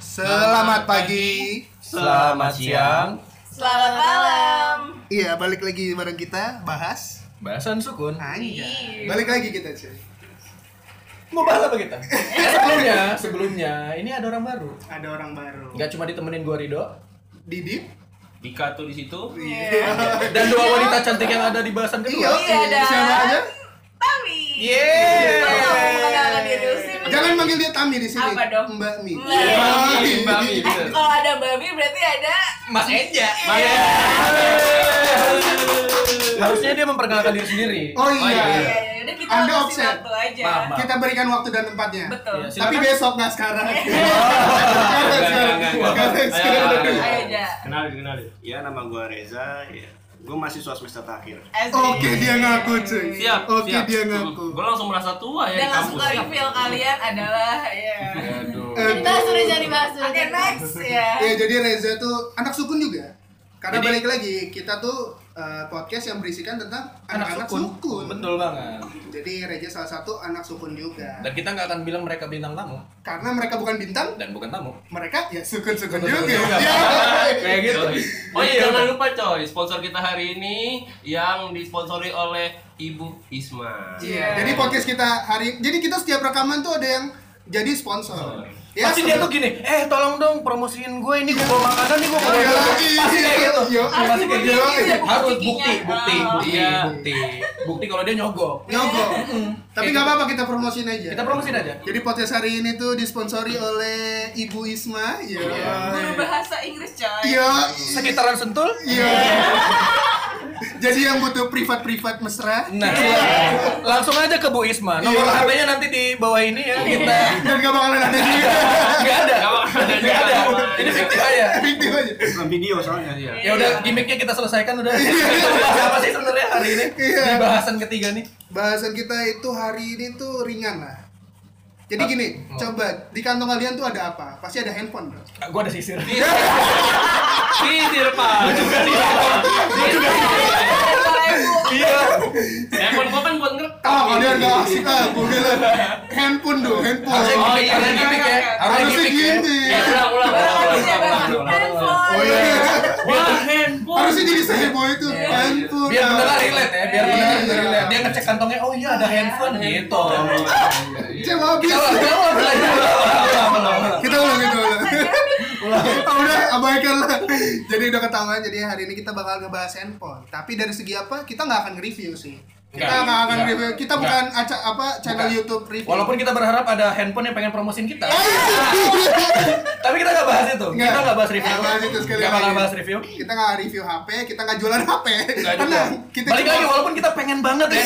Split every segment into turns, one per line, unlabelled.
Selamat pagi.
Selamat siang.
Selamat malam.
Iya, balik lagi bareng kita bahas
Bahasan sukun.
anjay.
Iya.
Balik lagi kita, cuy.
Mau bahas apa kita? sebelumnya, sebelumnya ini ada orang baru.
Ada orang baru.
Gak cuma ditemenin gua Rido
Didit?
Dika tuh di situ.
Iya.
dan dua wanita cantik yang ada di bahasan
Iya,
kedua.
Iya, ada.
Siapa aja?
Tami.
Yeay.
Kok kamu mengenalkan diri lu sih?
Jangan manggil dia Tami di sini.
Apa dong? Iya.
Mbak Mi.
Mbak
Mi, Mbak Mi,
Eh,
bener.
Kalau ada babi berarti ada
Mas Enja.
Iya.
Harusnya dia memperkenalkan diri sendiri.
Oh
Iya,
iya.
iya, iya. Udah kita
Anda
kasih
offset.
waktu aja.
Maaf, maaf.
Kita berikan waktu dan tempatnya.
Betul.
Iya, silakan.
Tapi besok nggak sekarang.
Enggak, enggak, enggak, enggak.
Sekarang,
Ayo,
sekarang.
ayo, ayo.
Ayo aja.
Kenalin, kenalin.
Ya nama gua Reza, ya. gue mahasiswa semester terakhir.
Asik.
Oke, dia ngaku, cuy.
Siap.
Oke,
siap.
dia ngaku.
Gue langsung merasa tua ya
Dan
di
langsung
kampus.
ke reveal kalian adalah ya.
Aduh.
Eh,
Dibahas sudah jadi bahas sudah.
Oke, next ya.
Iya, jadi Reza tuh anak sukun juga. Karena
Jadi-
balik lagi, kita tuh eh, podcast yang berisikan tentang anak-anak sukun.
Betul banget.
Jadi Reza salah satu anak sukun juga.
Dan kita nggak akan bilang mereka bintang tamu
Karena mereka bukan bintang,
dan bukan tamu.
mereka ya sukun-sukun
Sukun
juga.
juga.
Iya.
Kayak gitu.
Oh iya, jangan lupa coy, sponsor kita hari ini yang disponsori oleh Ibu Isma.
Iya. Jadi podcast kita hari jadi kita setiap rekaman tuh ada yang jadi sponsor.
Pasti dia tuh gini, eh tolong dong promosiin gue ini gue bawa makanan nih gue
Oh, iya, iya,
Pasti kayak gitu.
iya,
Harus
Pasti kayak gitu.
dibuktiin juga
Harus bukti,
buktinya.
bukti,
Oh.
bukti,
Iya.
bukti. Bukti kalau dia nyogok. gitu.
nyogok. Hmm. Tapi nggak apa-apa kita promosiin aja.
Kita promosiin aja.
Jadi podcast hari ini tuh disponsori oleh Ibu Isma. Iya.
Guru bahasa Inggris coy.
Iya.
Sekitaran sentul.
Iya. Jadi yang butuh privat-privat mesra
Nah, langsung aja ke Bu Isma. Nomor
Iya.
HP-nya nanti di bawah ini ya kita.
dan gak bakalan ada di
Enggak ada.
Nggak bakal ada
Enggak ada.
juga.
Ini fiktif aja.
Fiktif aja.
Bukan video soalnya.
Iya.
Ya udah gimmicknya kita selesaikan udah. Kita bahas apa sih sebenarnya hari ini?
Iya.
Di bahasan ketiga nih.
Bahasan kita itu hari ini tuh ringan lah. Jadi gini,
Oh.
coba di kantong kalian tuh ada apa? Pasti ada handphone, bro.
Ah, Gua ada sisir.
Iya. Sisir, Pak.
Kalau ibu.
Iya.
Telepon gua kan buat ngerekam.
Ah, kalian gak asik ah, boleh lah. Handphone dong,
Harusnya
handphone.
Oh,
gimmick,
iya,
harusnya
iya,
gimmick
iya,
ya.
iya.
Harusnya
Harusnya
gimmick ya.
gini.
Ya, ulang, ulang, ulang,
Barang
ulang, ulang,
aja, Bang.
ulang, ulang.
Handphone.
Oh iya.
Wah, handphone.
Harusnya jadi seheboh itu, handphone.
Iya. Biar
ah.
beneran relate ya,
Iya,
biar beneran
iya.
relate. Dia ngecek kantongnya, oh iya ada handphone gitu.
Coba
Kita ulang,
habis.
kita ulang, kita ulang, kita ulang, ulang, ulang.
Kita ulang, kita ulang. Ah, udah abaikan lah jadi udah ketahuan jadi hari ini kita bakal ngebahas handphone tapi dari segi apa kita nggak akan review sih kita
Nggak,
nggak akan
nggak.
review kita
Nggak.
bukan acak apa channel
Bukan.
YouTube review
Walaupun kita berharap ada handphone yang pengen promosin kita,
Eh,
tapi kita nggak bahas
Iya.
itu.
Nggak.
Kita nggak bahas review.
Nggak bahas itu sekali
Nggak bakal
lagi.
bahas review.
kita nggak review HP kita nggak jualan HP
Nggak juga.
tenang kita
Balik
cuma- Iya.
lagi walaupun kita pengen banget ya,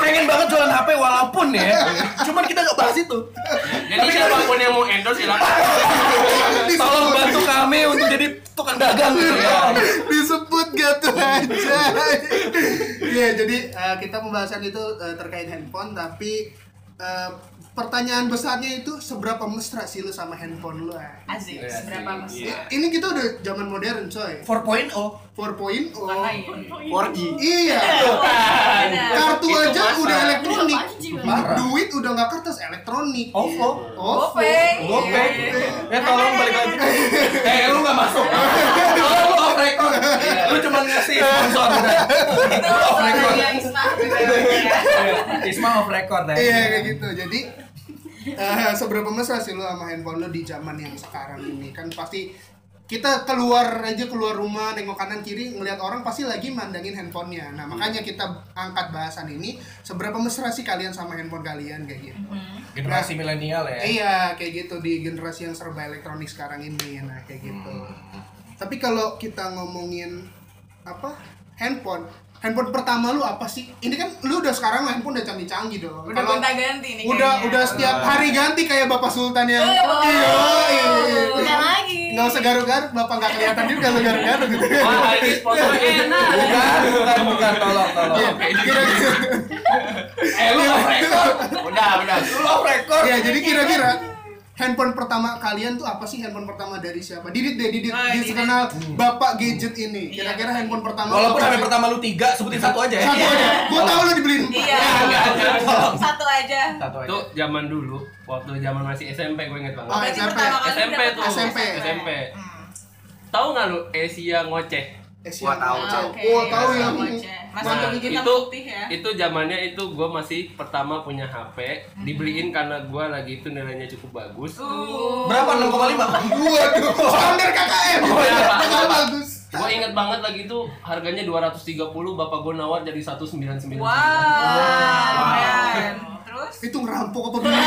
pengen banget jualan HP walaupun ya, cuman kita nggak bahas itu.
Jadi siapapun yang mau endorse silakan.
Tolong
disebut
bantu kami untuk jadi tukang dagang. gitu ya.
Iya. disebut gitu aja Iya jadi eh, kita pembahasan itu eh, terkait handphone tapi eh, pertanyaan besarnya itu seberapa mesra sih lu sama handphone lu ah?
Asik.
Iya, asik.
Berapa mas?
Iya.
Ini kita udah zaman modern coy.
4.0
4.0.
Bukan lain.
4G.
Iya.
Bukan.
Kartu
Itu
aja
masa.
udah elektronik.
Apaan sih, Bang?
Parah.
Duit udah nggak kertas elektronik. Iya.
OVO
OVO.
Gopay.
Gopay
Iya.
Eh tolong balik lagi Eh lu gak masuk
Iya,
Tolong lu off record Lu cuma ngasih sponsor
Iya,
udah
Itu
Lu off record
soalnya Isma juga ya.
Isma off record ya
Iya kayak gitu. Jadi eh, seberapa mesra sih lo sama handphone lo di zaman yang sekarang ini? Kan pasti kita keluar aja keluar rumah nengok kanan kiri ngelihat orang pasti lagi mandangin handphonenya. Nah makanya kita angkat bahasan ini seberapa mesra sih kalian sama handphone kalian kayak gitu.
Generasi milenial ya
Iya kayak gitu di generasi yang serba elektronik sekarang ini. Nah kayak gitu. Tapi kalau kita ngomongin apa handphone, handphone pertama lu apa sih? Ini kan lu udah sekarang handphone udah canggih-canggih dong.
Udah
Kalau-
gonta ganti nih.
udah
kayaknya.
udah setiap hari ganti kayak bapak sultan yang Iya,
Eh, oh.
Bukan lagi.
nggak usah garuk-garuk bapak nggak kelihatan juga lo garuk-garuk gitu
Wah, hari ini sponsor Eh, enak.
Bukan, bukan, bukan, tolong, tolong
Iya, kira-kira
Eh lu off record
Udah, udah.
Lu off record
Iya, ya jadi kira-kira handphone pertama kalian tuh apa sih handphone pertama dari siapa? Didit deh, Didit,
Oh,
Didit
Didit.
terkenal bapak gadget ini.
Iya.
Kira-kira handphone pertama
Hmm. Walaupun
apa
HP
sih?
pertama lu tiga, sebutin satu aja ya.
satu aja. Gua tahu lu dibeliin. empat.
Iya.
Enggak, enggak,
tolong.
Satu aja.
Satu aja.
Itu zaman dulu, waktu zaman masih SMP gue
Ah,
inget banget.
Berarti
SMP.
pertama kali
SMP
dapet
tuh.
nomor
SMP.
SMP.
Hmm.
Tahu nggak lu Asia ngoceh?
Eh, siapa?
Wah, tahu,
Ah,
tahu.
oke.
Wah, tahu ya.
Bocah. Masih
Mantap.
bikin
Nah,
hitam
itu-
putih ya.
itu zamannya itu gue masih pertama punya HP
Mm-hmm.
dibeliin karena gue lagi itu nilainya cukup bagus
Uh.
Berapa? 6,5?
Waduh, standar KKM.
Oh, iya.
Bakal bagus.
gue inget banget lagi itu harganya 230 bapak gue nawar jadi 199
Wow. keren. Terus?
Itu ngerampok apa
Oh,
bener?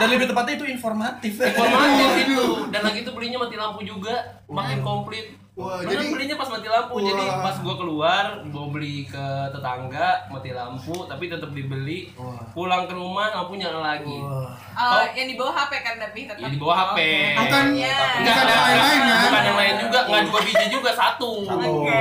Dan lebih tepatnya itu informatif.
Informatif
Iya.
itu dan lagi itu belinya mati lampu juga makin komplit
Wah,
Padahal
jadi-
belinya pas mati lampu
Wah.
jadi pas gue keluar mau beli ke tetangga mati lampu tapi tetap dibeli pulang ke rumah lampunya lagi Oh.
Eh, yang di bawah HP kan tapi tetap.
Ya di bawah HP.
Bukan
Iya.
bukan yang lain-lain kan?
Bukan yang lain juga, nggak dua biji juga satu.
Oke.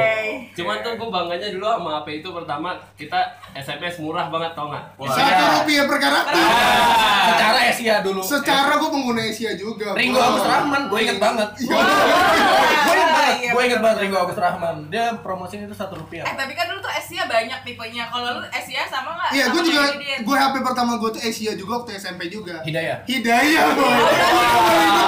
Cuman tuh gue bangganya dulu sama HP itu pertama kita SMS murah banget tau nggak?
Wah.
Satu rupiah per karakter.
Iya.
Ah.
Secara Asia dulu.
Secara gue pengguna Asia juga.
Ringo
Bro.
Agus Rahman, gue inget banget.
Iya.
Gue inget banget,
Iya,
gue inget
bener.
banget Ringo Agus Rahman. Dia promosinya itu satu rupiah.
Eh tapi kan dulu tuh Asia banyak tipenya. Kalau lu Asia sama nggak?
Iya,
Sama
gue juga,
kayak Didin.
gue HP pertama gue tuh Asia juga waktu SMP juga.
Hidayah.
Hidayah, boy.
Oh,
Iya,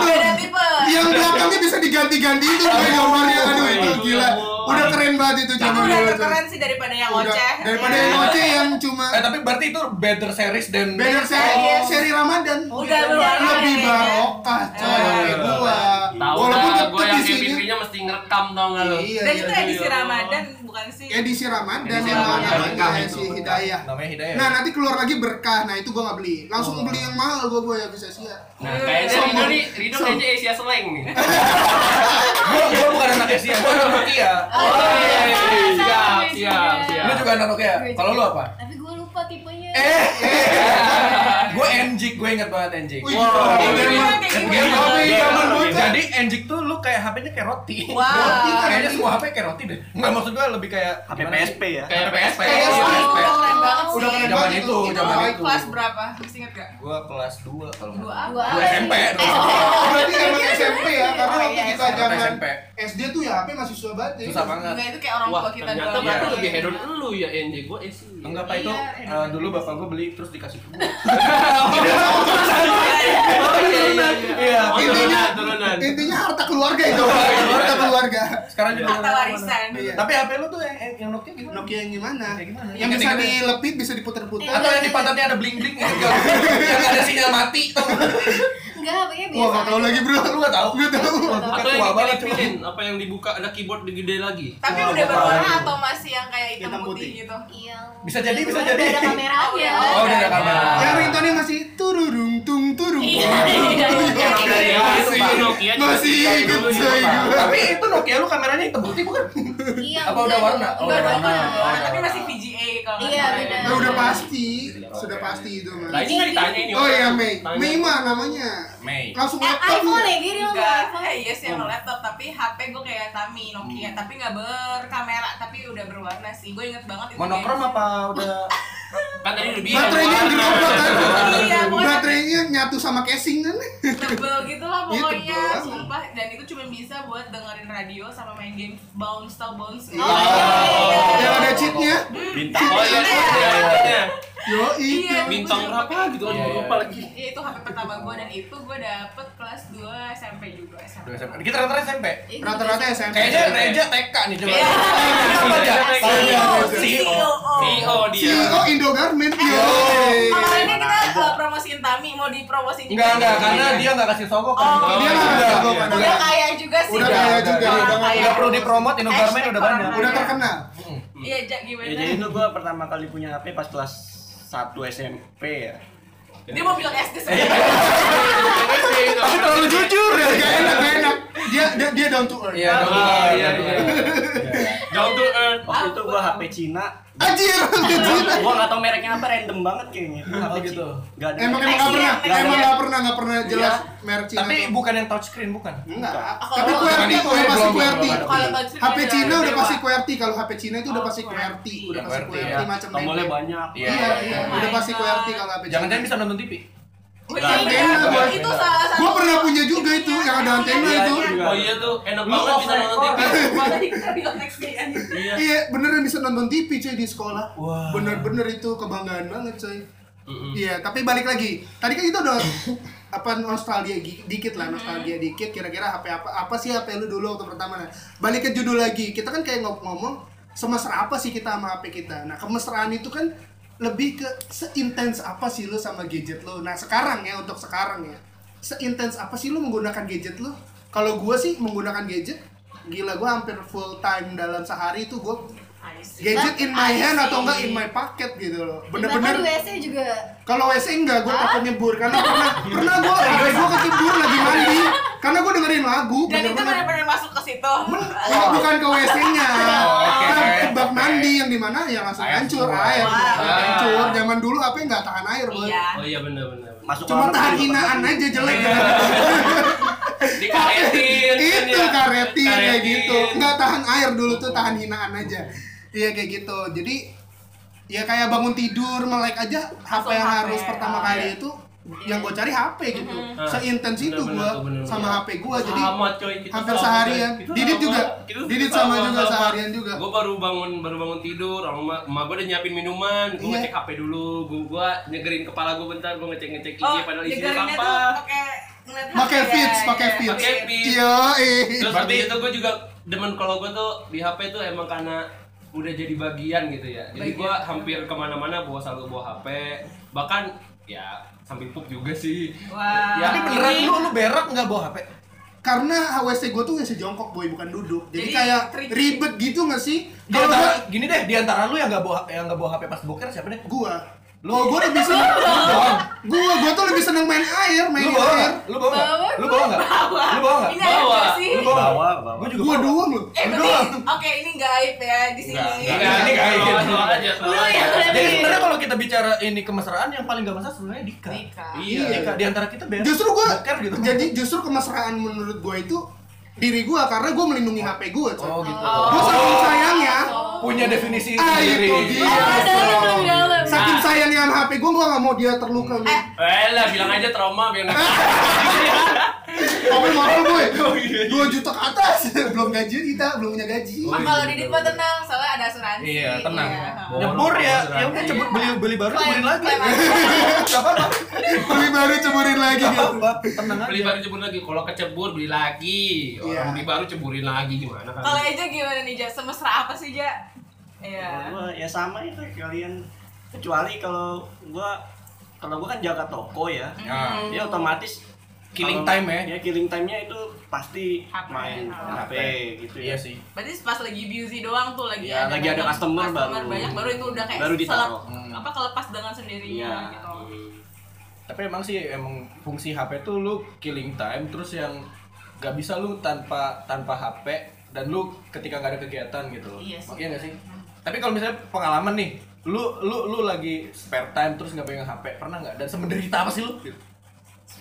Beda tipe.
Yang belakangnya Iya, bisa diganti-ganti itu boy gambarnya, aduh itu
Aduh,
gila.
aduh.
Udah keren banget itu
Itu
zaman
udah
dulu tuh.
keren sih daripada yang
Udah,
ngoceh.
Daripada
Iya.
yang ngoceh yang cuma
Eh tapi berarti itu better series dan
banner seri, seri Ramadan.
Iya, Udah iya, luar
lebih
biasa.
barokah coy
Eh.
gua.
Tahu
Walaupun
nggak? Gue
tetep
yang
isinya
MVP-nya mesti ngerekam tau nggak lo?
Iya,
Dan
iya,
itu
iya.
edisi Ramadan bukan sih?
edisi Ramadan
Edisi
memang
Ramadan,
namanya
itu.
si Hidayah.
Oh, Namanya Hidayah.
Nah nanti keluar lagi berkah, nah itu gue nggak beli, langsung beli yang mahal gue gue ya bisa sia.
Nah kayaknya
Sombong.
Rido nih, Rido
Sombong.
kayaknya Asia Slang nih.
gue gue bukan anak Asia, gue anak Nokia.
iya, iya, iya.
sama,
Siap,
sama,
siap,
sama.
siap.
Lu juga anak Nokia. Kalau lu apa?
Tapi gue lupa tipenya.
Eh, gue Enjik, gue inget banget Enjik.
Wih, gila,
Wow.
Itu
memang.
kan kayak
Jadi,
gimana?
Iya, iya, zaman bocah.
jadi Enjik tuh lu kayak HP-nya kayak roti.
Wow.
Roti, kayaknya semua HP kayak roti deh. Enggak maksud gue lebih kayak
HP
gimana sih?
PSP ya.
Kayak PSP.
Kayak
Oh,
Iya,
itu keren banget
Udah
sih.
keren
Zaman
banget
itu,
Itu
zaman itu.
kelas berapa? Masih inget gak?
Gue kelas 2 kalau nggak
Dua
salah.
apa? Eh,
Gua SMP dong.
Oh, Berarti emang SMP ya, karena
Oh,
waktu
iya,
kita
SMP.
zaman
SMP.
SD tuh ya HP masih susah banget ya.
Susah banget.
Enggak itu kayak orang
Wah
tua kita
ternyata
dulu.
berarti
Iya.
lebih hedon lu ya NJ gue Asia.
Enggak pak itu
Iya,
eh, dulu bapak gue beli terus dikasih ke gue.
Iya, iya, iya. Oh,
Intinya,
turunan, turunan.
intinya harta keluarga itu, harta keluarga.
Sekarang juga
Harta
nggak tahu
warisan.
mana.
Iya.
Tapi HP lu tuh yang, yang Nokia gimana?
Nokia yang gimana?
Kayak gimana?
Yang bisa
Tiga-tiga.
dilepit bisa diputar-putar.
Atau yang di pantatnya ada bling
ya?
bling yang yang ada sinyal mati tuh.
Enggak, HPnya biasa.
Wah nggak tahu lagi bro,
Lu nggak tahu?
nggak tahu.
Atau
Tua
yang
banget,
dikilipin, apa yang dibuka ada keyboard digede lagi.
Tapi
Wah,
udah
apa
berwarna
itu?
atau masih yang kayak hitam
Hitam
putih
putih.
gitu?
Iya.
Bisa jadi, bisa
Udah
jadi.
Ada kameranya.
Oh,
Oh udah ada kamera.
Yang ringtone masih tururung tung turung.
Iya,
Turung,
iya,
turung.
iya.
Dari awal itu Pak Nokia juga
Masih
dikasih
ikut
dulu
saya
ya, Pak.
juga.
Nah, Tapi itu Nokia lu kameranya hitam putih bukan?
Iya.
Apa udah
enggak,
warna?
Enggak
Oh,
ada
warna.
warna.
Oh,
Tapi
iya.
masih VGA kalau nggak
Iya,
salah ya.
benar.
Nah udah pasti, sudah pasti itu
Nah
mah.
ini nggak ditanya ini.
Oh
orang.
iya Mei,
Tanya.
Mei mah namanya.
Mei.
Langsung
Eh,
laptop.
iPhone ya, gini loh
Enggak,
iPhone.
eh iya sih emang laptop, tapi HP gue kayak Tami, Nokia, tapi nggak berkamera, tapi udah berwarna sih. Gue inget banget itu.
Monokrom
kayak-
apa udah?
Kan tadi udah bilang.
Baterainya yang dirobot kan?
Iya, pokoknya-
Baterainya nyatu sama casing kan?
Oh,
Tebel gitu lah
Iya,
pokoknya,
tebel.
sumpah. Dan itu cuma bisa buat dengerin radio sama main game bounce tau
iya,
bounce. Iya,
Oh, Yang ada cheatnya.
Bintang.
Oh iya, iya, iya, iya.
Yo itu.
Iya.
Bintang berapa gitu kan
Iya, iya.
lupa lagi.
Iya itu HP pertama gue dan itu gue dapet kelas 2 SMP juga SMP.
Udah SMP. Kita rata-rata SMP.
Iya.
Rata-rata ya, SMP.
Kayaknya Reja TK nih coba.
Iya. E
Apa aja?
CEO.
Iya. CEO.
CEO dia.
CEO Indo Garment. Oh, Yo.
Kemarin ini kita uh, promosiin Tami, mau dipromosiin juga.
Enggak enggak karena dia enggak kasih sogok kan.
E Oh.
Dia
Udah,
nggak
udah,
sogok,
udah.
kan?
Udah kaya juga sih.
Udah kaya juga,
udah,
udah
udah,
kaya.
udah perlu dipromot, Indogarmen
Hashtag
udah banyak.
orang
Udah
kaya.
terkenal.
Iya, Jak gimana?
Ya jadi itu gua pertama kali punya HP pas kelas 1 SMP ya.
Dia mau bilang
Iya.
SD sebenarnya.
Tapi terlalu jujur ya. Gak enak, gak enak. Dia dia, dia down to earth.
Iya, dong.
Ah, iya, iya.
Ya.
Down to earth.
Waktu
Ah,
itu gua HP Cina.
Anjir.
Iya.
Gua gua nggak tahu mereknya apa random banget kayaknya. Itu HP
gitu.
gitu. Enggak ada.
Emang
Iya,
emang nggak pernah,
Nextnya,
emang
nextnya.
nggak pernah, nggak pernah jelas merek Cina.
Tapi
tuh.
bukan yang touchscreen bukan.
enggak.
Kalau-
Tapi
Bukan
QWERTY
itu,
tuh udah
belum,
pasti
belum,
QWERTY.
belum ada.
Kalau touch
HP
screen
Cina
udah
udah pasti
dewa.
QWERTY. Kalau HP Cina itu udah
Oh,
pasti QWERT,
QWERTY.
udah pasti
QWERTY,
QWERTY macam
Iya. Tombolnya banyak.
Iya,
Iya,
iya.
iya.
Udah
Oh my
pasti QWERTY
God.
kalau HP Cina.
Jangan-jangan bisa nonton TV.
Oh, iya,
Nah,
iya,
iya.
iya.
itu salah satu.
Gua pernah punya juga itu, yang ada antena
iya,
itu.
iya.
Oh iya tuh, enak
Lu
banget
off
bisa nonton
record.
TV.
Makanya kita bilang next day aja.
Iya.
Iya, beneran bisa nonton TV cuy di sekolah.
Wah.
Bener-bener itu kebanggaan banget cuy.
Mm-mm.
Iya, tapi balik lagi. Tadi kan kita udah apa nostalgia gi- dikit lah, nostalgia dikit. Kira-kira HP apa? Apa sih HP lu dulu waktu pertama? Nah, balik ke judul lagi. Kita kan kayak ngomong, ngomong semesra apa sih kita sama HP kita. Nah, kemesraan itu kan lebih ke seintens apa sih lu sama gadget lu. Nah, sekarang ya untuk sekarang ya. Seintens apa sih lu menggunakan gadget lu? Kalau gua sih menggunakan gadget, gila gua hampir full time dalam sehari itu gua
I see.
gadget in my
I
hand
see.
atau enggak in my pocket gitu loh.
Bahkan di
Bener-bener
WC juga
kalau WC enggak, gue
Hah?
takut nyebur karena pernah pernah gue HP gue kecebur lagi mandi karena gue dengerin lagu
Dan itu
bener-bener.
benar-benar masuk ke situ.
Ini bukan ke WC-nya,
oke,
kan
oke.
ke bak mandi yang dimana ya langsung
Air
hancur
semua.
air,
Wah.
hancur. Zaman dulu apa nggak tahan air, boy?
Iya.
Oh iya benar-benar.
Masuk
Cuma
kolam
tahan
renang juga
hinaan
pernah.
aja jelek.
Iya. Dikaretin. kan
itu
ya.
karetin kayak gitu
Karetin.
nggak tahan air dulu tuh tahan hinaan aja iya kayak gitu jadi ya kayak bangun tidur melek aja HP
Langsung
yang
HP,
harus pertama
oh,
kali
iya.
itu yang gue cari HP gitu
Ah,
seintens itu gue
bener-bener tuh, bener-bener.
sama HP gue jadi
Sama, coy, kita
hampir
sama,
seharian.
coy. Kita
Didit
sama,
juga.
kita
Didit sama juga, seharian juga.
Gue baru bangun baru bangun tidur, sama emak- emak gue udah nyiapin minuman, gue
Iya.
ngecek HP dulu, gue gua nyegerin kepala gue bentar, gue ngecek ngecek IG
Oh,
iya, padahal isinya
degerinnya
sampah.
tuh pakai ngeliat
Pakai
HP,
feeds,
ya,
pakai
ya.
feeds.
Pakai feeds.
iya eh
Terus tapi itu gue juga demen kalau gue tuh di HP tuh emang karena udah jadi bagian gitu ya. Jadi gue hampir kemana-mana bawa selalu bawa HP, bahkan ya sambil pup juga sih.
Wah.
Ya,
Tapi beneran lu lu berak nggak bawa HP?
karena WC gue tuh WC jongkok boy bukan duduk jadi,
Jadi,
kayak
tricky.
ribet gitu nggak sih
Di
kalau
antara,
gua-
gini deh, di antara lu yang nggak bawa yang nggak bawa HP pas boker siapa deh?
gua lo gue lebih seneng
doang.
gua gua tuh lebih seneng main air main
Lu bawa
air
nggak? Lu bawa nggak?
Bawa,
Lu bawa nggak?
Bawa.
Lu bawa nggak?
Ini aib
Bawa.
gak sih?
Lu bawa?
Bawa,
nggak?
bawa.
Gua juga
gua
bawa.
doang loh
Eh,
Lu
tapi
doang.
oke ini nggak aib ya di sini.
Nggak, nggak.
Enggak, ini kayak
Soal-
soal
soal
iya. aja, soal
ya?
Lu
aja.
yang udah
Jadi
di-
sebenarnya kalau kita bicara ini kemesraan yang paling gak masalah sebenarnya Dika.
Dika.
Iya.
Dika di antara kita berak.
justru gua
boker gitu.
jadi justru kemesraan menurut gua itu diri gua karena gua melindungi hp gua coy.
Oh
Ah,
gitu.
Oh.
gua saking sayangnya
Punya definisi
Ah,
sendiri. Ah.
itu dia.
Oh, ada yang belum dalam.
saking sayangnya sama hp gua gua nggak mau dia terluka boy
Eh.
Eh lah, bilang aja trauma, bilang
tapi mahal boy
Oh, iya,
dua juta ke atas belum gaji kita belum punya gaji
Ah, Kalau Didit mah tenang, soalnya ada asuransi.
Iya, tenang.
Iya.
Nyebur ya, ya udah cebur beli beli baru beli
Klaim-
lagi.
klaim aja.
Gak apa-apa.
beli baru ceburin lagi
Gak
gitu
apa-apa. Tenang aja.
beli baru cebur lagi. Kalau kecebur beli lagi. Orang
Iya.
beli baru ceburin lagi gimana kan?
Kalau Eja gimana nih, Ja? Semesra apa sih, Ja? Iya.
Gua ya sama itu kalian kecuali kalau gua kalau gua kan jaga toko ya.
Ya.
Ya otomatis
Killing time
kalau-
ya.
Ya killing time-nya itu pasti
HP.
main
Oh.
HP gitu ya.
Iya sih.
Berarti pas lagi busy doang tuh lagi
Iya, lagi ada
banyak
customer baru.
banyak baru itu udah kayak
Baru ditaruh.
selap-
Hmm.
apa kelepas dengan sendirinya
Iya.
gitu.
tapi emang sih emang fungsi HP tuh lu killing time terus yang gak bisa lu tanpa tanpa HP dan lu ketika nggak ada kegiatan gitu loh
Iya sih.
nggak sih tapi kalau misalnya pengalaman nih lu lu lu lagi spare time terus nggak pegang HP pernah nggak dan semenderita apa sih lu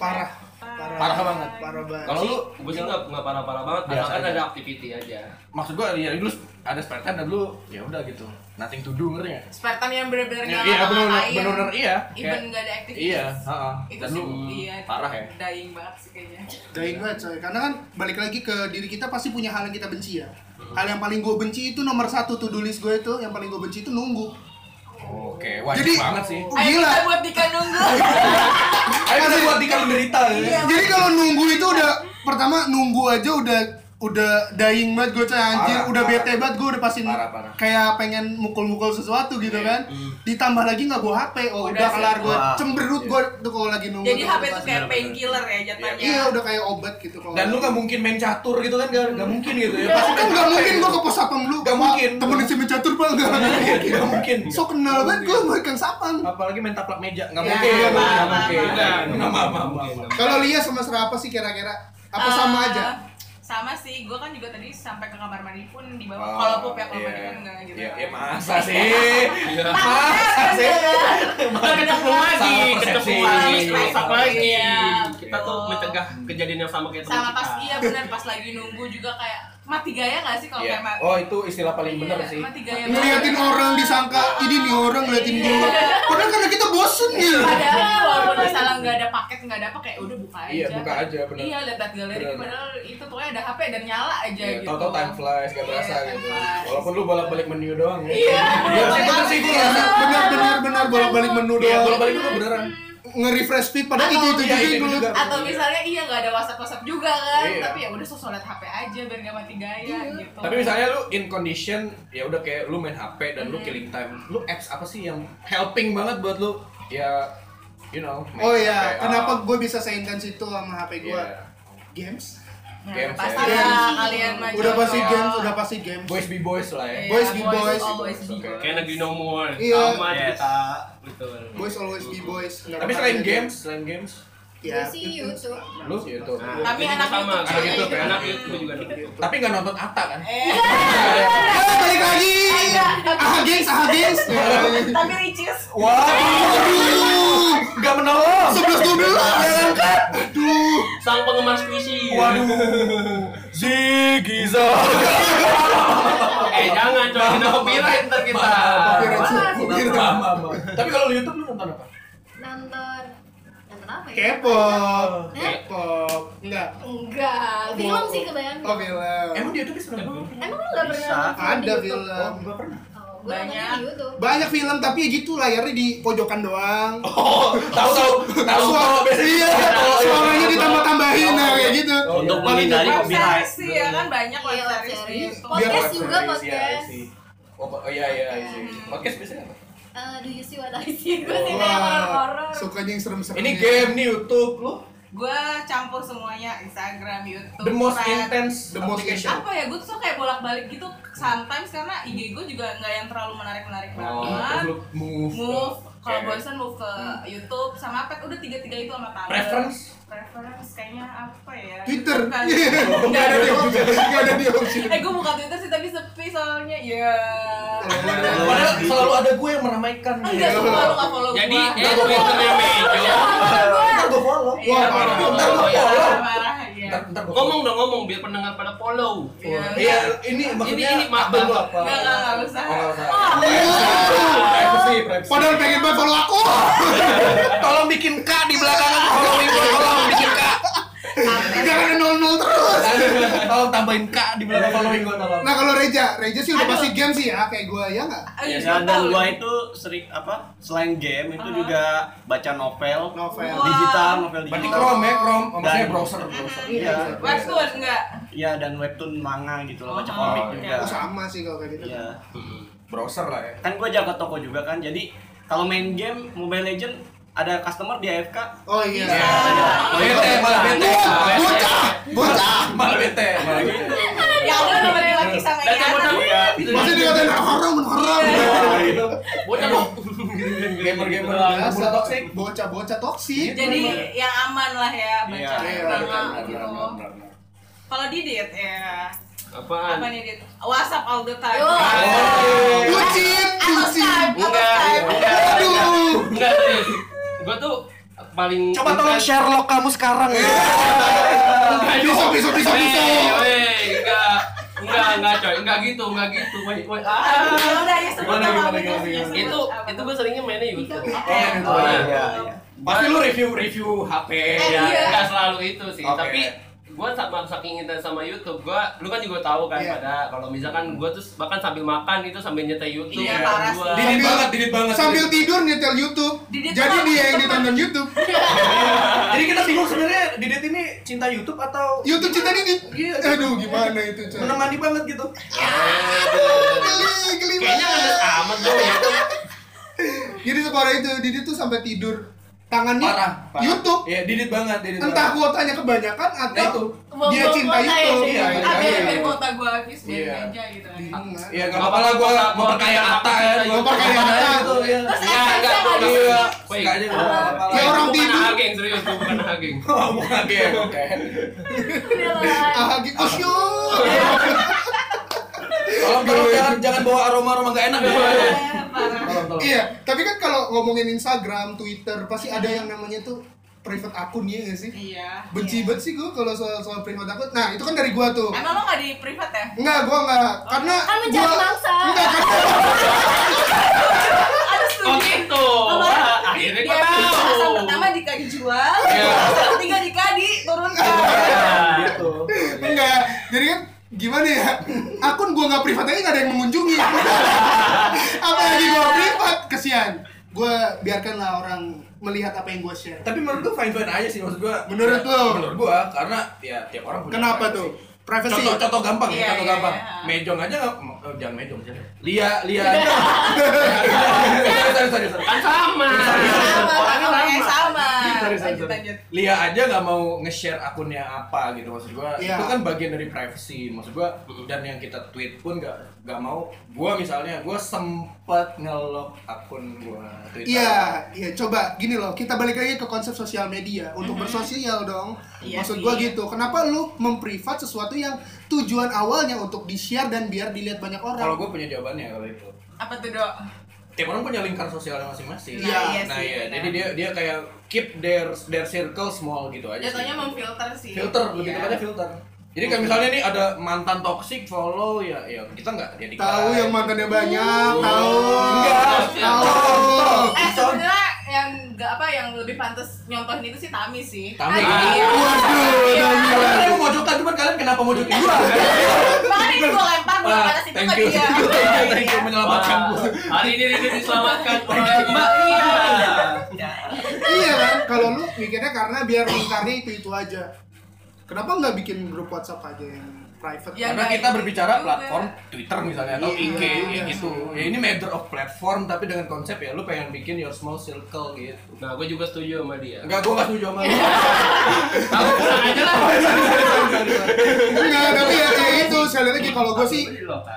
parah
Parah banget.
parah banget
kalau lu
gue sih nggak nggak parah-parah banget,
Biasa
asalkan
aja.
ada activity aja.
maksud gua ya lu ada spare time dan lu ya udah gitu nothing to do ngerti nggak
Spare time yang benar-benar
Ya,
nggak
iya
ngapa-ngapain.
benar benar iya
Even
Kayak-
nggak ada aktivitas.
iya heeh.
Itu
dan
sih
lu
iya,
parah ya
Dying banget sih kayaknya.
Gaya
Iya.
banget coy, karena kan balik lagi ke diri kita pasti punya hal yang kita benci ya
Hmm.
Hal yang paling gue benci itu nomor satu to do list gue itu, yang paling gue benci itu nunggu
oke wajib
Jadi-
banget sih
Oh,
Ayo
gila.
kita buat Dika nunggu.
ayo kita buat dikal menderita ya
Jadi kalau nunggu itu udah, pertama nunggu aja udah udah dying banget gue coy anjir
Parah,
udah
parah.
bete banget gue udah pasti
Parah, parah. Iya. Hmm.
kayak pengen mukul-mukul sesuatu gitu kan ditambah lagi nggak gue HP oh udah,
Udah sih.
kelar gue
Wah.
cemberut gue
Iya.
tuh kalau lagi nunggu
Jadi
tuh
HP
udah
itu
pasti.
kayak painkiller ya jatuhnya.
iya udah kayak obat gitu kalau
dan lu nggak mungkin main catur gitu kan nggak nggak mungkin gitu ya
Pasti kan nggak mungkin gue ke pos satpam lu
Nggak
Pak,
mungkin.
temenin si mencatur bang nggak
nggak mungkin
so kenal banget gue sama Kang Sapang
apalagi main taplak meja nggak
Ya,
mungkin
apa,
nggak
apa,
mungkin
apa.
nggak nggak mungkin
Kalau Lia semesra apa sih kira-kira? Apa sama
Eh,
aja?
Sama sih, gue kan juga tadi sampai ke kamar mandi pun di bawah.
Oh,
Kalau pup ya kamar
iya.
mandi kan enggak gitu.
Iya,
Iya.
ya masa sih? Masa
Kan
sih?
enggak.
Kita ketemu lagi,
Salah persepsi.
ketemu lagi,
Salah
rusak
persepsi.
lagi.
Iya,
Kita tuh
betul.
mencegah kejadian yang sama kayak teman
sama pas
kita.
iya benar pas lagi nunggu juga kayak mati gaya nggak sih kalau
Iya.
kayak mati
Oh itu istilah paling benar
Iya,
sih.
mati gaya
ngeliatin
banget.
orang disangka ini nih orang ngeliatin gue
Iya.
padahal karena kita bosen ya
padahal walaupun misalnya nggak ada paket nggak ada apa kayak udah buka aja
Iya, buka aja, bener.
iya lihat galeri
Bener.
padahal itu pokoknya ada HP dan nyala aja
Iya,
gitu
Tahu-tahu time flies gak
Iya,
berasa
time
gitu.
flies.
Walaupun lu bolak-balik menu doang ya.
iya
ya sih bener sih gue rasa bener bener bener bolak balik menu
Iya,
doang
bolak-balik menu beneran.
nge-refresh feed padahal itu itu
iya,
Atau-
juga
itu
yang
juga.
dulu
atau misalnya iya nggak ada WhatsApp WhatsApp juga kan
Iya.
tapi ya udah sosok lihat HP aja biar nggak mati gaya gitu
Tapi misalnya lu in condition ya udah kayak lu main HP dan
Mm-hmm.
lu killing time. Lu apps apa sih yang helping banget buat lu? Ya you know. main
oh
HP,
iya
ah,
kenapa gue bisa saingan situ sama hp gue
Iya.
games
Nah,
games
pasti
ya.
lah kalian maju
udah pasti
dong.
games udah pasti games
Iya, Boys be boys lah ya.
Iya,
Boys be boys.
oh, boys be
Oke.
boys.
Kayak negeri no more.
Iya.
Sama
Yes.
kita. Betul.
boys always be boys Nggak
Tapi
pernah
selain
ada
games, selain games,
ya
Gue sih YouTube.
lu ya itu.
Nah,
Tapi
itu
anak
sama,
YouTube
anak
juga
YouTube,
gitu.
anak YouTube juga.
Tapi nggak nonton Ata kan?
Eh,
Eh, balik lagi ah gengs ah gengs
tapi ricis
Wah,
aduh
nggak menolong.
sebelas dua belas aduh
Sang penggemar squishy.
Zigiza.
Eh jangan coy, kita copyright ntar kita.
Copyright, sih, copyright.
Tapi kalau di YouTube lu nonton apa?
Nonton nonton apa ya?
K-pop,
Eh?
K-pop, enggak.
Enggak, film sih kebayang.
Oh film.
Emang di YouTube bisa nonton?
Emang lu enggak pernah
Bisa.
nonton di
ada
YouTube?
film.
nggak pernah.
Oh, gue nontonnya
Banyak.
di YouTube.
Banyak film tapi ya gitu layarnya di pojokan doang.
Oh, tahu tahu tahu
Suara, iya, suaranya ditambah-tambahin nah kayak gitu.
Untuk
Iya.
Paling
menghindari
depan.
web
hobi hype.
series ya kan banyak web
Iya, web
series di
series.
YouTube.
Podcast
Iya,
Biar-
juga podcast.
Oh, po- oh iya iya iya. Podcast biasanya apa?
Eh, do you see what I see? Gue sih kayak
Wah,
horor-horor.
sukanya yang serem-serem.
Ini game nih YouTube lu.
Gue campur semuanya Instagram, YouTube,
The most
Thread.
intense
The most
application.
apa ya gue tuh kayak bolak-balik gitu sometimes karena IG gue juga nggak yang terlalu menarik-menarik
Oh,
banget.
terus lu move.
move kalau
Oke.
bosan move ke YouTube sama apa udah tiga-tiga itu sama Tumblr.
Preference?
Preference kayaknya apa ya?
Twitter. Iya.
Bukan.
Enggak ada di option. Enggak ada di option.
eh gue buka Twitter sih tapi sepi soalnya. Ya.
Padahal selalu ada gue yang meramaikan.
Enggak semua lu nggak follow
Jadi
gua.
eh Twitternya Mejo.
Ah, Ntar gue follow.
Iya,
Wah,
parah,
parah.
Ntar gue
parah,
follow.
parah, iya.
Ntar ntar gue
Ngomong dong ngomong biar pendengar pada follow.
Iya.
Iya, ini maksudnya
ini maaf,
update lu
Bang.
apa?
Enggak, enggak, enggak usah.
Oh, nggak Ah. usah.
Iya.
Privacy, privacy.
Padahal pengen banget follow aku.
tolong bikin K di belakang tolong ibu, tolong bikin K.
Jangan ada nol-nol terus.
Tolong tambahin K di belakang following gue tolong.
Nah, kalau Reja, Reja sih udah
Aduh.
pasti game sih ya kayak gue ya enggak?
Eh,
Iya.
Ya,
nggak
dan, dan
tahu.
gua itu sering apa selain game itu
Ah.
juga baca novel,
Novel.
digital, novel
Berarti
digital.
Chrome ya, Chrome. Oh, maksudnya
Dan-
browser, browser.
Iya.
Webtoon enggak?
Iya dan webtoon manga gitu loh, baca
Oh,
komik
iya.
juga.
Oh, sama sih kalau kayak gitu.
Iya.
Browser lah ya.
Kan gua jaga toko juga kan. Jadi kalau main game Mobile Legend ada customer di AFK.
Oh iya.
Iya.
Bete, malah Oh,
Wah,
bete. Malah bete.
Bocah, bocah.
Malah bete, malah bete.
Ya udah udah balik lagi sama
Dan
Yana. gitu.
Iya.
Masih dikatain haram, haram.
Iya.
Bocah lu. Iya.
Gamer-gamer
Biasa,
Gamer toxic.
Bocah-bocah toksik.
Jadi yang aman lah ya baca
Iya,
iya,
drama
benar,
gitu. Kalau Didit ya
Apaan?
apa nih Dit? WhatsApp all the time.
Yo.
Oh.
Bucin,
Atau
bucin.
Skype, atau
Enggak,
Skype.
enggak.
Aduh.
Enggak serius. Gua tuh paling
Coba tolong Sherlock kamu sekarang ya.
Pisau, pisau, pisau,
Iya,
pisau.
Wey, wey, enggak. Enggak, enggak coy, enggak gitu, enggak gitu. Wey, wey, ah.
Ya udah ya sebut
Gimana,
nama
gimana,
aplikasinya,
gimana, gimana?
sebut
Itu
apa.
itu gua seringnya mainnya YouTube.
Eh,
Oh, iya,
iya, iya.
Pasti lu review-review HP
Ya,
Iya.
enggak selalu itu sih,
Oke.
tapi gua sama saking intens sama YouTube, gua lu kan juga tahu kan
Iya.
pada kalau misalkan gua tuh bahkan sambil makan itu sambil nyetel YouTube
Iya,
kan
parah
gua.
sih.
Didit banget, didit banget.
Sambil
Didit.
tidur nyetel YouTube.
Didit
Jadi
tuh
dia yang
temen.
ditonton YouTube.
Jadi kita bingung sebenarnya Didit ini cinta YouTube atau
YouTube cinta Didit.
Iya.
Aduh, gimana itu, coy.
menemani banget gitu.
Geli, geli
Kayaknya
banget.
ngeles amat gua
ya.
YouTube.
Jadi separah itu, Didit tuh sampai tidur. Tangannya
Parah, parah.
YouTube.
Iya, didit banget, didit.
Entah
banget.
kuotanya kebanyakan atau
Nah, itu.
dia cinta YouTube.
Iya, iya,
Ah, biar
iya.
biar kuota gua habis biar
Iya.
aja gitu kan.
Iya, enggak apa-apa lah gua mau perkaya Atta ya.
Gua perkaya Atta.
gitu ya.
Terus
Iya,
efeknya
enggak,
nggak
gua-
Iya,
Woi.
suka aja nggak apa-apa lah.
Ya orang
Gua bukan
tidur.
ageng, serius, gua bukan ageng.
Oh, bukan game, oke.
Udah lah.
Ah, gitu. Osyo.
Tolong tolong
Iya.
jangan jangan bawa aroma-aroma enggak enak ya.
Eh, parah.
Tolong, tolong.
Iya, tapi kan kalau ngomongin Instagram, Twitter, pasti ada yang namanya tuh private akun ya nggak sih?
Iya.
Benci
Iya.
banget sih gue kalau soal soal private akun. Nah itu kan dari gue tuh.
Emang lo nggak di privat ya?
Enggak, gue enggak. Karena
Kan mencari
gua-
mangsa.
Enggak, karena
Ada
Oh
studi.
gitu. Wah, akhirnya
Dia
gua
alasan
tahu.
pertama Dika dijual,
Iya.
alasan ketiga Dika diturunkan.
gitu.
enggak. Jadi kan gimana ya? Akun gue nggak privat aja nggak ada yang mengunjungi. Apalagi gue privat, kesian. Gue biarkanlah orang melihat apa yang gue share.
Tapi menurut gue fine fine aja sih maksud gue.
Menurut lo?
Menurut gue karena ya tiap orang punya.
Kenapa
privacy.
tuh? Privacy.
Contoh contoh gampang
Iya,
ya, contoh
iya,
gampang.
iya.
Mejong aja nggak, eh, jangan mejong
Iya.
sih. Lia, Lia. Sorry, sorry, sorry, sorry.
Kan sama.
Sama,
Orangnya
sama,
sama.
orangnya sama.
Sorry, sorry,
Lanjut,
sorry.
lanjut.
Lia aja nggak mau nge-share akunnya apa gitu maksud gua
Iya.
itu kan bagian dari privacy maksud gua dan yang kita tweet pun nggak nggak mau gua misalnya gua sempet ngelok akun gua Twitter
Iya, iya coba gini loh, kita balik lagi ke konsep sosial media untuk
Mm-hmm.
bersosial dong.
Iya
Maksud
sih.
gua gitu. Kenapa lu memprivat sesuatu yang tujuan awalnya untuk di-share dan biar dilihat banyak
kalau
orang?
gua punya jawabannya kalau itu
Apa tuh dok?
tiap orang punya lingkar sosialnya masing-masing
Nah, iya
nah
sih,
iya
benar.
jadi dia dia kayak keep their their circle small gitu aja
Jatuhnya
sih.
memfilter sih.
filter lebih
Iya.
tepatnya filter jadi kayak misalnya nih ada mantan toxic follow ya ya kita nggak jadi
Tahu yang mantannya banyak, tahu.
Iya. Enggak,
Tahu.
Eh sebenarnya yang nggak apa yang lebih pantas nyontohin itu sih Tami sih.
Tami. Ah.
Iya.
Waduh,
Iya.
Tami.
Kalian mau mojokan cuman kalian kenapa mojokin gua?
Makanya ini gue lempar gue
Wah,
atas
Ah,
itu
thank
ke
you,
dia. Iya.
thank you, thank you, thank
Iya.
you menyelamatkan
Wah,
gua.
hari ini Rini diselamatkan
Thank
oleh
you.
Mbak Ria.
Iya kan? Kalau lu mikirnya karena biar lingkarnya itu-itu aja. Kenapa nggak bikin grup WhatsApp aja yang private?
Ya,
Karena
nggak
kita
itu
berbicara
juga.
platform Twitter misalnya
Oh,
atau
Iya, iya.
IG kayak gitu. Ya ini matter of platform tapi dengan konsep ya lu pengen bikin your small circle gitu.
Iya.
Nah, gue juga setuju sama dia.
Enggak, gua nggak setuju sama lu.
Aku pulang aja lah.
Enggak, tapi ya kayak gitu. Saya lihat lagi kalau gue sih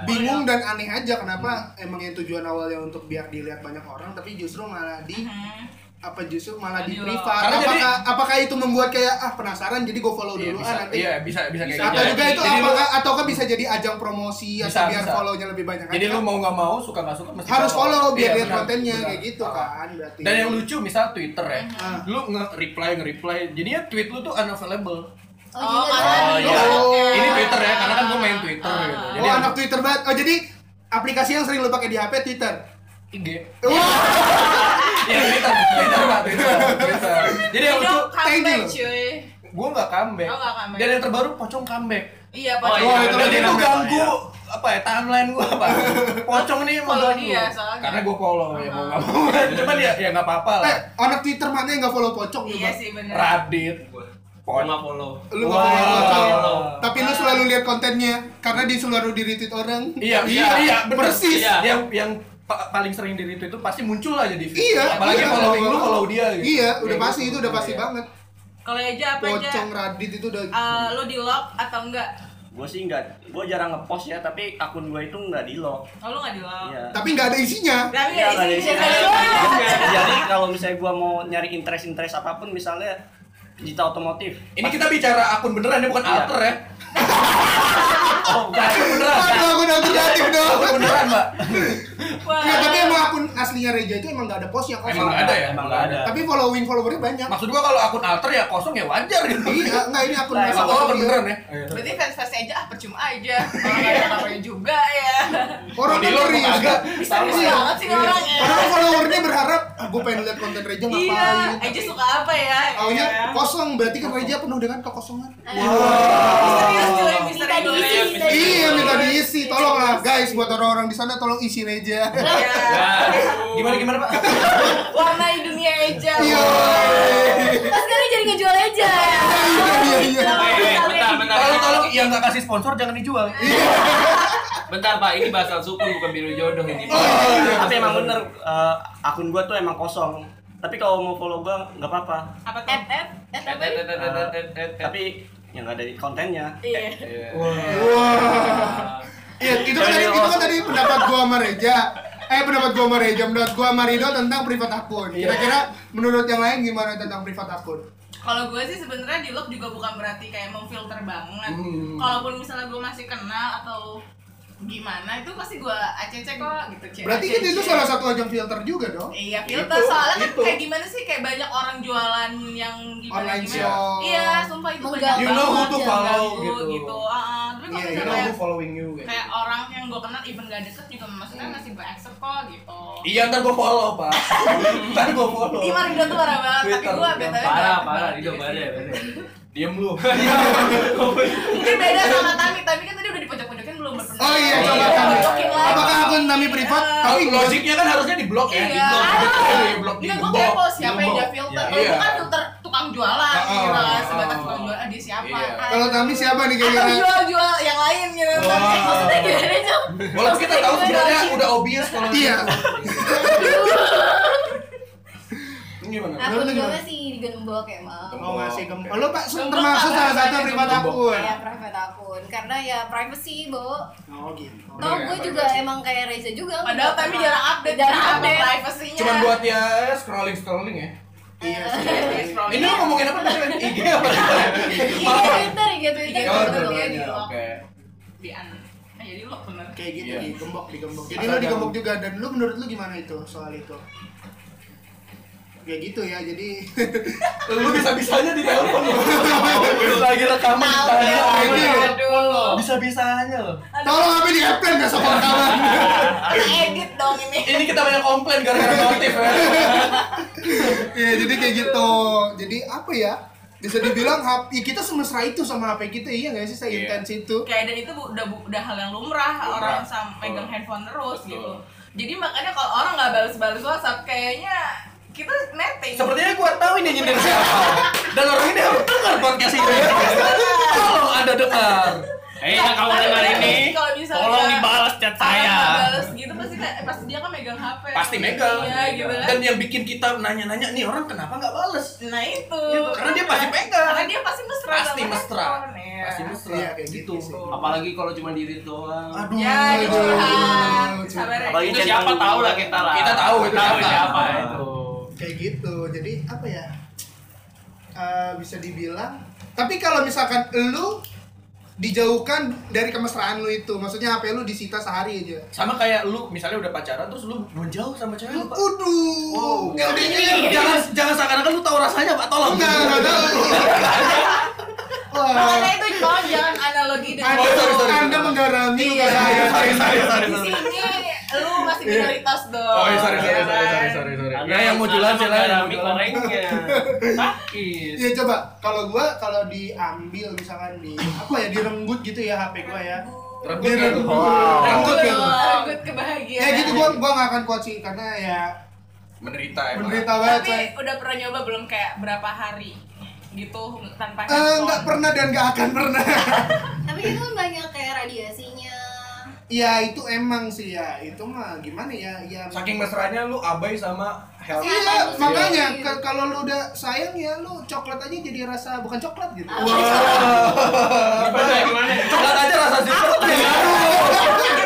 bingung dan aneh aja kenapa emang yang tujuan awalnya untuk biar dilihat banyak orang tapi justru malah di
Hmm.
apa justru malah di
Iya.
privat
Karena
apakah
jadi-
apakah itu membuat kayak ah penasaran jadi gue follow
Iya,
dulu
bisa.
ah nanti
Iya, bisa bisa kayak
Bisa
gitu.
atau
Jadi-
juga itu
Jadi lu-
apakah ataukah bisa jadi ajang promosi atau
Bisa,
biar
bisa.
follow-nya lebih banyak
Jadi
aja?
lu mau nggak mau suka nggak suka mesti
harus follow biar
Iya,
lihat
benar,
kontennya
benar.
kayak gitu kan berarti
Dan yang lucu misal Twitter ya,
Ah.
lu nge-reply nge-reply, jadinya tweet lu tuh unavailable.
Oh,
Oh,
iya.
karena
Oh,
di
iya.
blognya.
Ini Twitter ya, karena kan gue main Twitter
Ah.
gitu.
oh
Jadi
anak Twitter banget oh jadi aplikasi yang sering lu pakai di HP Twitter Oh,
IG.
Wah,
Ya Twitter, Twitter Pak, Twitter, Twitter. Jadi yang lucu,
Hidup Iya, comeback,
thank you.
cuy.
gue nggak comeback.
Oh, nggak comeback.
Dan yang terbaru pocong comeback.
Iya,
Oh,
pasti.
iya,
itu
Dan
lagi
itu
rame.
ganggu apa ya timeline gue apa? Pocong nih emang
Follow
ganggu.
dia soalnya.
Karena gue follow ya mau
Uh-huh.
nggak mau. Cuman ya ya nggak apa-apa lah.
eh, anak Twitter mana yang nggak follow pocong
Iya
coba?
sih bener.
Radit,
Gue
pocong.
nggak follow.
lu nggak follow
Wow.
pocong tapi lu selalu lihat kontennya karena di selalu di retweet orang
Iya, iya, iya, bener.
persis
Iya.
Yang yang pa- paling sering di retweet itu pasti muncul aja di feed.
Iya,
apalagi
iya.
following lu follow dia gitu.
Iya, udah
Kayak
pasti
gitu.
itu udah pasti
Iya.
banget.
Kalau aja apa aja?
Pocong Radit itu udah
Eh, lo di lock atau enggak?
Gue sih nggak, gue jarang ngepost ya, tapi akun gue itu nggak di lock.
Oh, lo nggak di lock.
Iya.
tapi nggak ada isinya.
Tapi
Iya,
ya,
nggak ada
isinya
isinya.
nggak ada.
Jadi kalau misalnya gue mau nyari interest-interest apapun, misalnya digital otomotif.
Ini kita bicara akun beneran ya bukan
Iya.
alter ya.
Oh,
Nah, akun beneran.
Aduh, aku udah
Iya.
kreatif dong.
Akun beneran, Mbak.
Wah.
Nggak, tapi emang akun aslinya Reja itu emang nggak ada post yang
Emang
kosong.
nggak ada ya?
Emang nggak ada.
Tapi following followernya banyak.
Maksud gua kalau akun alter ya kosong ya wajar gitu.
Iya, nggak ini akun
Nah,
asli.
Masa kalau akun beneran ya?
Berarti fans-fansnya aja ah percuma aja. Kalau nggak ada apa-apa juga ya.
Orang
Di
kan
luar
ngeri.
kok agak.
Serius banget sih orang ya.
Orang Iya. followernya berharap, ah, gue pengen lihat konten Reja
Iya,
ngapain. Oh,
aja suka apa ya?
Taunya
Iya.
kosong, berarti kan Reja penuh dengan kekosongan.
Misterius cuy, misterius.
diisi,
minta
diisi.
Iya, minta diisi. Tolonglah guys, buat orang-orang di sana tolong isi Reja.
Iya.
Ya.
Gimana gimana, Pak?
Warnai dunia aja.
Iya.
Pas sekarang jadi ngejual aja.
Iya, iya, iya.
Eh, eh, bentar, bentar.
Tolong-tolong yang nggak kasih sponsor jangan dijual.
Bentar, Pak. Ini bahasan sukun bukan biru jodoh ini. Pak.
tapi emang bener eh, akun gue tuh emang kosong. Tapi kalau mau follow gue nggak apa-apa.
Apa tuh?
App, app, app apa
Eh,
ini?
eh, eh, eh, eh, eh, eh.
Tapi yang nggak ada di kontennya. Eh,
Iya.
Iya.
Wah. Iya, itu kan tadi, itu kan tadi pendapat gua sama Reja. Eh, pendapat gua sama Reja, pendapat gua sama Rido tentang privat akun. Kira-kira menurut yang lain gimana tentang privat akun?
Kalau gue sih sebenarnya di lock juga bukan berarti kayak memfilter banget.
Hmm.
Kalaupun misalnya gue masih kenal atau gimana itu pasti gue acc kok gitu cek
Berarti kan itu, itu salah satu ajang filter juga dong.
Iya filter
Itu,
soalnya kan
itu.
kayak gimana sih kayak banyak orang jualan yang gimana
Online
gimana.
shop.
Iya, sumpah itu banyak
Mengganggu
You know who to
Jangan
follow
ganggu
gitu.
gitu. Ah, tapi kalau
Iya,
You
you
misalnya
know who
kayak,
following you gitu.
kayak orang yang gue kenal even gak deket juga maksudnya masih berekser kok gitu.
Iya ntar gue follow pak Ntar gue follow
Ih, Marga tuh parah banget, tapi
Twitter,
gue
yang
beda
parah parah itu parah parah.
Diem lu
Mungkin beda sama Tami, Tami kan tadi udah dipojok-pojokin belum berpendapat.
Oh iya,
coba
Iya,
Tami.
pojokin lagi.
Apakah akun Tami privat?
Iya.
Tapi logik.
Logiknya kan harusnya di blok ya Di
Iya.
blok
Aduh.
Di blok di
Enggak, gue
blok.
kepo siapa yang dia filter.
Iya.
Kalau gue kan filter tukang jualan,
Ah,
gitu
ah,
lah.
ah.
Sebatas tukang jualan, ah, dia siapa?
Iya.
Ah,
Kalau Tami siapa nih
Atau
kayaknya?
jual-jual yang lain gitu.
Wah.
Tapi maksudnya gimana, Jom?
Walaupun kita tahu sebenarnya udah obvious kalau
Iya.
Ini gimana?
Aku
Lu
juga
gimana?
sih digembok emang.
Oh ngasih
Oke.
gem. Oh, lo pak
Gembok
termasuk
apa
salah satu
namanya?
privat
Gembok.
akun.
Ya private akun karena ya privacy, Bo.
Oh gitu.
Toh
Iya,
gue
privacy.
juga emang kayak Reza juga.
Padahal
nggak
Tami
pernah-
jarang update,
Jarang update.
privasinya.
Cuman buat ya scrolling scrolling ya.
Iya sih.
Iya, scrolling.
Ini lo ngomongin apa tadi? IG apa?
IG
Maaf.
Iya, Twitter, IG Twitter.
Iya,
Oh,
gitu.
dua-duanya. Oke.
Di an- Nah, jadi lo bener.
Kayak gitu
Iya.
digembok digembok. Jadi
Asal
lo digembok
jangan-
juga dan lo menurut lo gimana itu soal itu? Ya gitu ya. Jadi
Lu bisa-bisanya di telepon lo. Lagi rekaman di
Aduh,
tangan.
Iya, iya.
aduh.
Bisa-bisanya lo.
tolong apa di captain gak sama kawan.
Kita edit dong ini.
Ini kita banyak komplain gara-gara notif ya.
Iya jadi kayak gitu. Jadi apa ya? Bisa dibilang HP kita semesra itu sama HP kita iya nggak sih saya
Iya.
intens itu.
kayak dan itu bu- udah bu- udah hal yang lumrah,
Lumrah.
orang sam megang
Betul.
handphone terus
Betul.
gitu jadi makanya kalau orang nggak balas-balas WhatsApp kayaknya kita netting
Sepertinya gua tahu ini nyindir siapa. Dan orang ini harus dengar podcast ini. Tolong Anda dengar.
Eh, kalau dengar ini,
Kalau misalnya-
tolong dibalas chat
Orang nggak
saya.
balas gitu pasti kayak- eh, pasti dia kan megang HP
Pasti megang.
iya gitu kan
Dan yang bikin kita nanya-nanya nih orang kenapa nggak bales?
nah itu
Gitu, karena dia pasti megang.
karena dia pasti mesra
Pasti
sama
mesra.
handphone, ya.
Pasti mesra
Iya,
kayak
kayak
gitu.
gitu sih.
Apalagi kalau cuma diri doang.
Aduh.
ya
aduh,
dia curhat
aduh.
sabar ya.
Apalagi
itu siapa tahu lah kita lah
Kita tahu itu
tahu
siapa.
siapa itu
kayak gitu jadi apa ya Eh, bisa dibilang tapi kalau misalkan lu dijauhkan dari kemesraan lu itu maksudnya HP lu disita sehari aja
Sama kayak lu misalnya udah pacaran terus lu belum jauh sama cewek lu. Pak.
Waduh, nggak ada ini.
jangan jangan seakan-akan lu tahu rasanya Pak, tolong.
Nggak, nggak tahu.
makanya
Wah,
itu tolong jangan analogi dengan
Anda,
Oh, sorry, sorry.
anda menggarami
Iya.
saya.
di sini lu masih minoritas dong
Oh, iya, sorry, sorry,
ya
sorry,
kan?
sorry, sorry, sorry. Ya, yang mau jualan silakan. yang mau
Mengalami
jualan.
Iya.
orangnya sakit
Ya coba kalau gua kalau diambil misalkan di apa ya direnggut gitu ya HP gua ya.
Renggut ya,
Direnggut.
Wow.
Renggut ya.
Renggut
Ya
kebahagiaan.
gitu gua gua nggak akan kuat sih karena ya
Menderita emang.
menderita banget
Tapi
saya.
udah pernah nyoba belum kayak berapa hari gitu
Eh,
tanpa handphone?
nggak pernah dan nggak akan pernah.
Tapi itu kan banyak kayak radiasinya.
ya itu emang sih ya, itu mah gimana ya? Ya
Saking mesranya lu abai sama health.
Iya,
Kesehatan
makanya
sendiri.
ke- kalau lu udah sayang ya lu coklat aja jadi rasa bukan coklat gitu.
Iya,
Ah.
gimana gimana
Coklat aja rasa zipper tuh ya.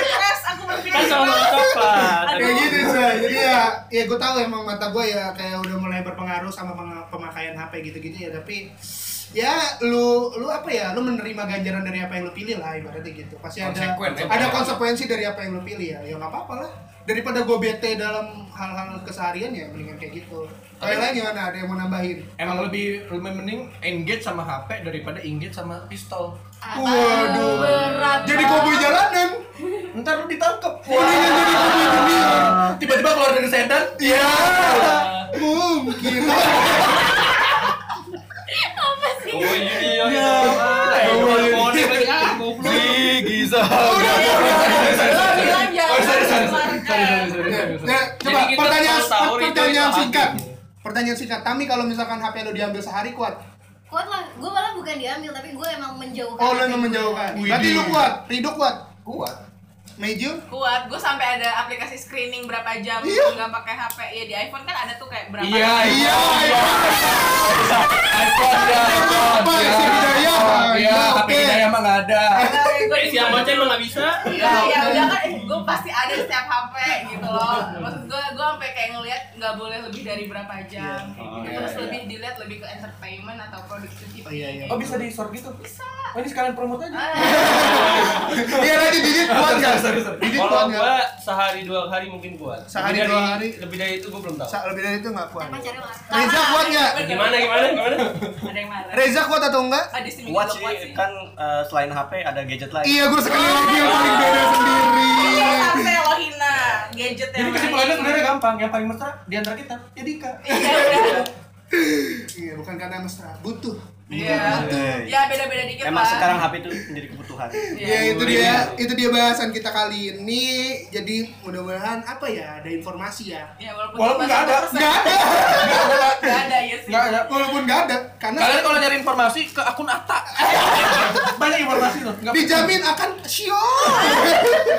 Stres, aku berpikir
kan sama coklat
Kayak gitu sih. Jadi ya ya gue tahu emang mata gue ya kayak udah mulai berpengaruh sama peng- pemakaian HP gitu-gitu ya, tapi ya lu lu apa ya? Lu menerima ganjaran dari apa yang lu pilih lah ibaratnya gitu. Pasti ada
Konsekuen ya.
ada konsekuensi dari apa yang lu pilih ya. Ya nggak apa-apa lah. Daripada gue bete dalam hal-hal keseharian ya mendingan kayak gitu. Kalian lain gimana? Ada yang mau nambahin?
Emang lebih lebih mending engage sama HP daripada engage sama pistol.
Apa?
Waduh.
Berat.
Jadi
Bang.
koboi jalanan.
Ntar lu ditangkep.
Mendingan jadi koboi dunia.
Tiba-tiba keluar dari sedan.
Ya, mungkin.
Oh iya, iya,
Ya.
iya.
Oh, iya.
Mau dibeli ah, goblok.
Si Giza.
Lo bilang jangan
Nah, coba
Jadi kita
pertanyaan
kalau sahur itu
pertanyaan
itu
singkat.
apa?
Pertanyaan singkat. Tami kalau misalkan HP lo diambil sehari kuat.
Kuat lah. Gue malah bukan diambil tapi gue emang menjauhkan.
Oh, lo
HP
emang
gua.
menjauhkan.
Widih.
Berarti lu kuat. Rido kuat.
Kuat.
Meju?
kuat, gue sampai ada aplikasi screening berapa jam
Iya.
nggak pakai HP. Iya di iPhone kan ada tuh kayak berapa.
Iya,
jam.
iya, iya. iPhone ya,
Apa,
iPhone
si Hidayah?
Iya,
Ya,
tapi
oke.
Hidayah mah nggak ada.
Kayak gua
Eh,
di-
siang bocah emang nggak bisa.
Iya.
eh, Iya, ya udah kan gue pasti ada di setiap HP gitu loh. Maksud gue, gue sampai kayak ngeliat nggak boleh lebih dari berapa jam.
Iya.
gitu.
Oh, iya,
Terus
iya.
lebih dilihat lebih ke entertainment atau productivity.
Oh, iya, iya.
Oh bisa di sort gitu?
Bisa.
Oh ini sekalian promote aja.
Ah,
Iya nanti Didit kuat nggak? Didit kuat
Kalau
nggak?
gua sehari dua hari mungkin kuat.
Sehari
Lebih
dua
dari-
hari?
Lebih dari itu gua belum tahu.
Sa- lebih dari itu nggak kuat.
Ntar pacarnya marah.
Reza kuat nggak?
Gimana gimana gimana?
Ada yang marah.
Reza kuat atau enggak?
Ada si Minggu
Kuat
kuat
sih, kan eh, selain HP ada gadget lain.
Iya, gue sekali lagi yang paling beda sendiri.
Iya, sampai lo hina gadget yang
Jadi kesimpulannya sebenarnya gampang, yang paling mesra di antara kita ya Dika.
Iya, udah.
Iya, bukan karena mesra, butuh.
Iya. Ya beda-beda dikit
Emang
lah.
sekarang HP itu menjadi kebutuhan.
Iya,
Ya, itu dia, itu dia bahasan kita kali ini. Jadi mudah-mudahan apa ya, ada informasi ya.
Ya, walaupun,
Walaupun
cuma
nggak ada,
1%.
Nggak ada,
Nggak ada ya sih.
Enggak ada. Nah,
walaupun nggak ada, karena
Kalian kalau nyari informasi ke akun Atta. Banyak informasi loh. Nggak-
dijamin akan sure.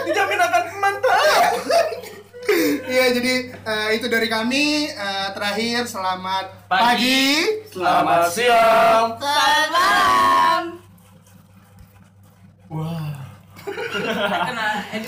dijamin akan mantap.
Iya, jadi eh, itu dari kami. Eh, terakhir, selamat
Pagi.
pagi.
Selamat siang.
Selamat malam.
Wah.
Kena edit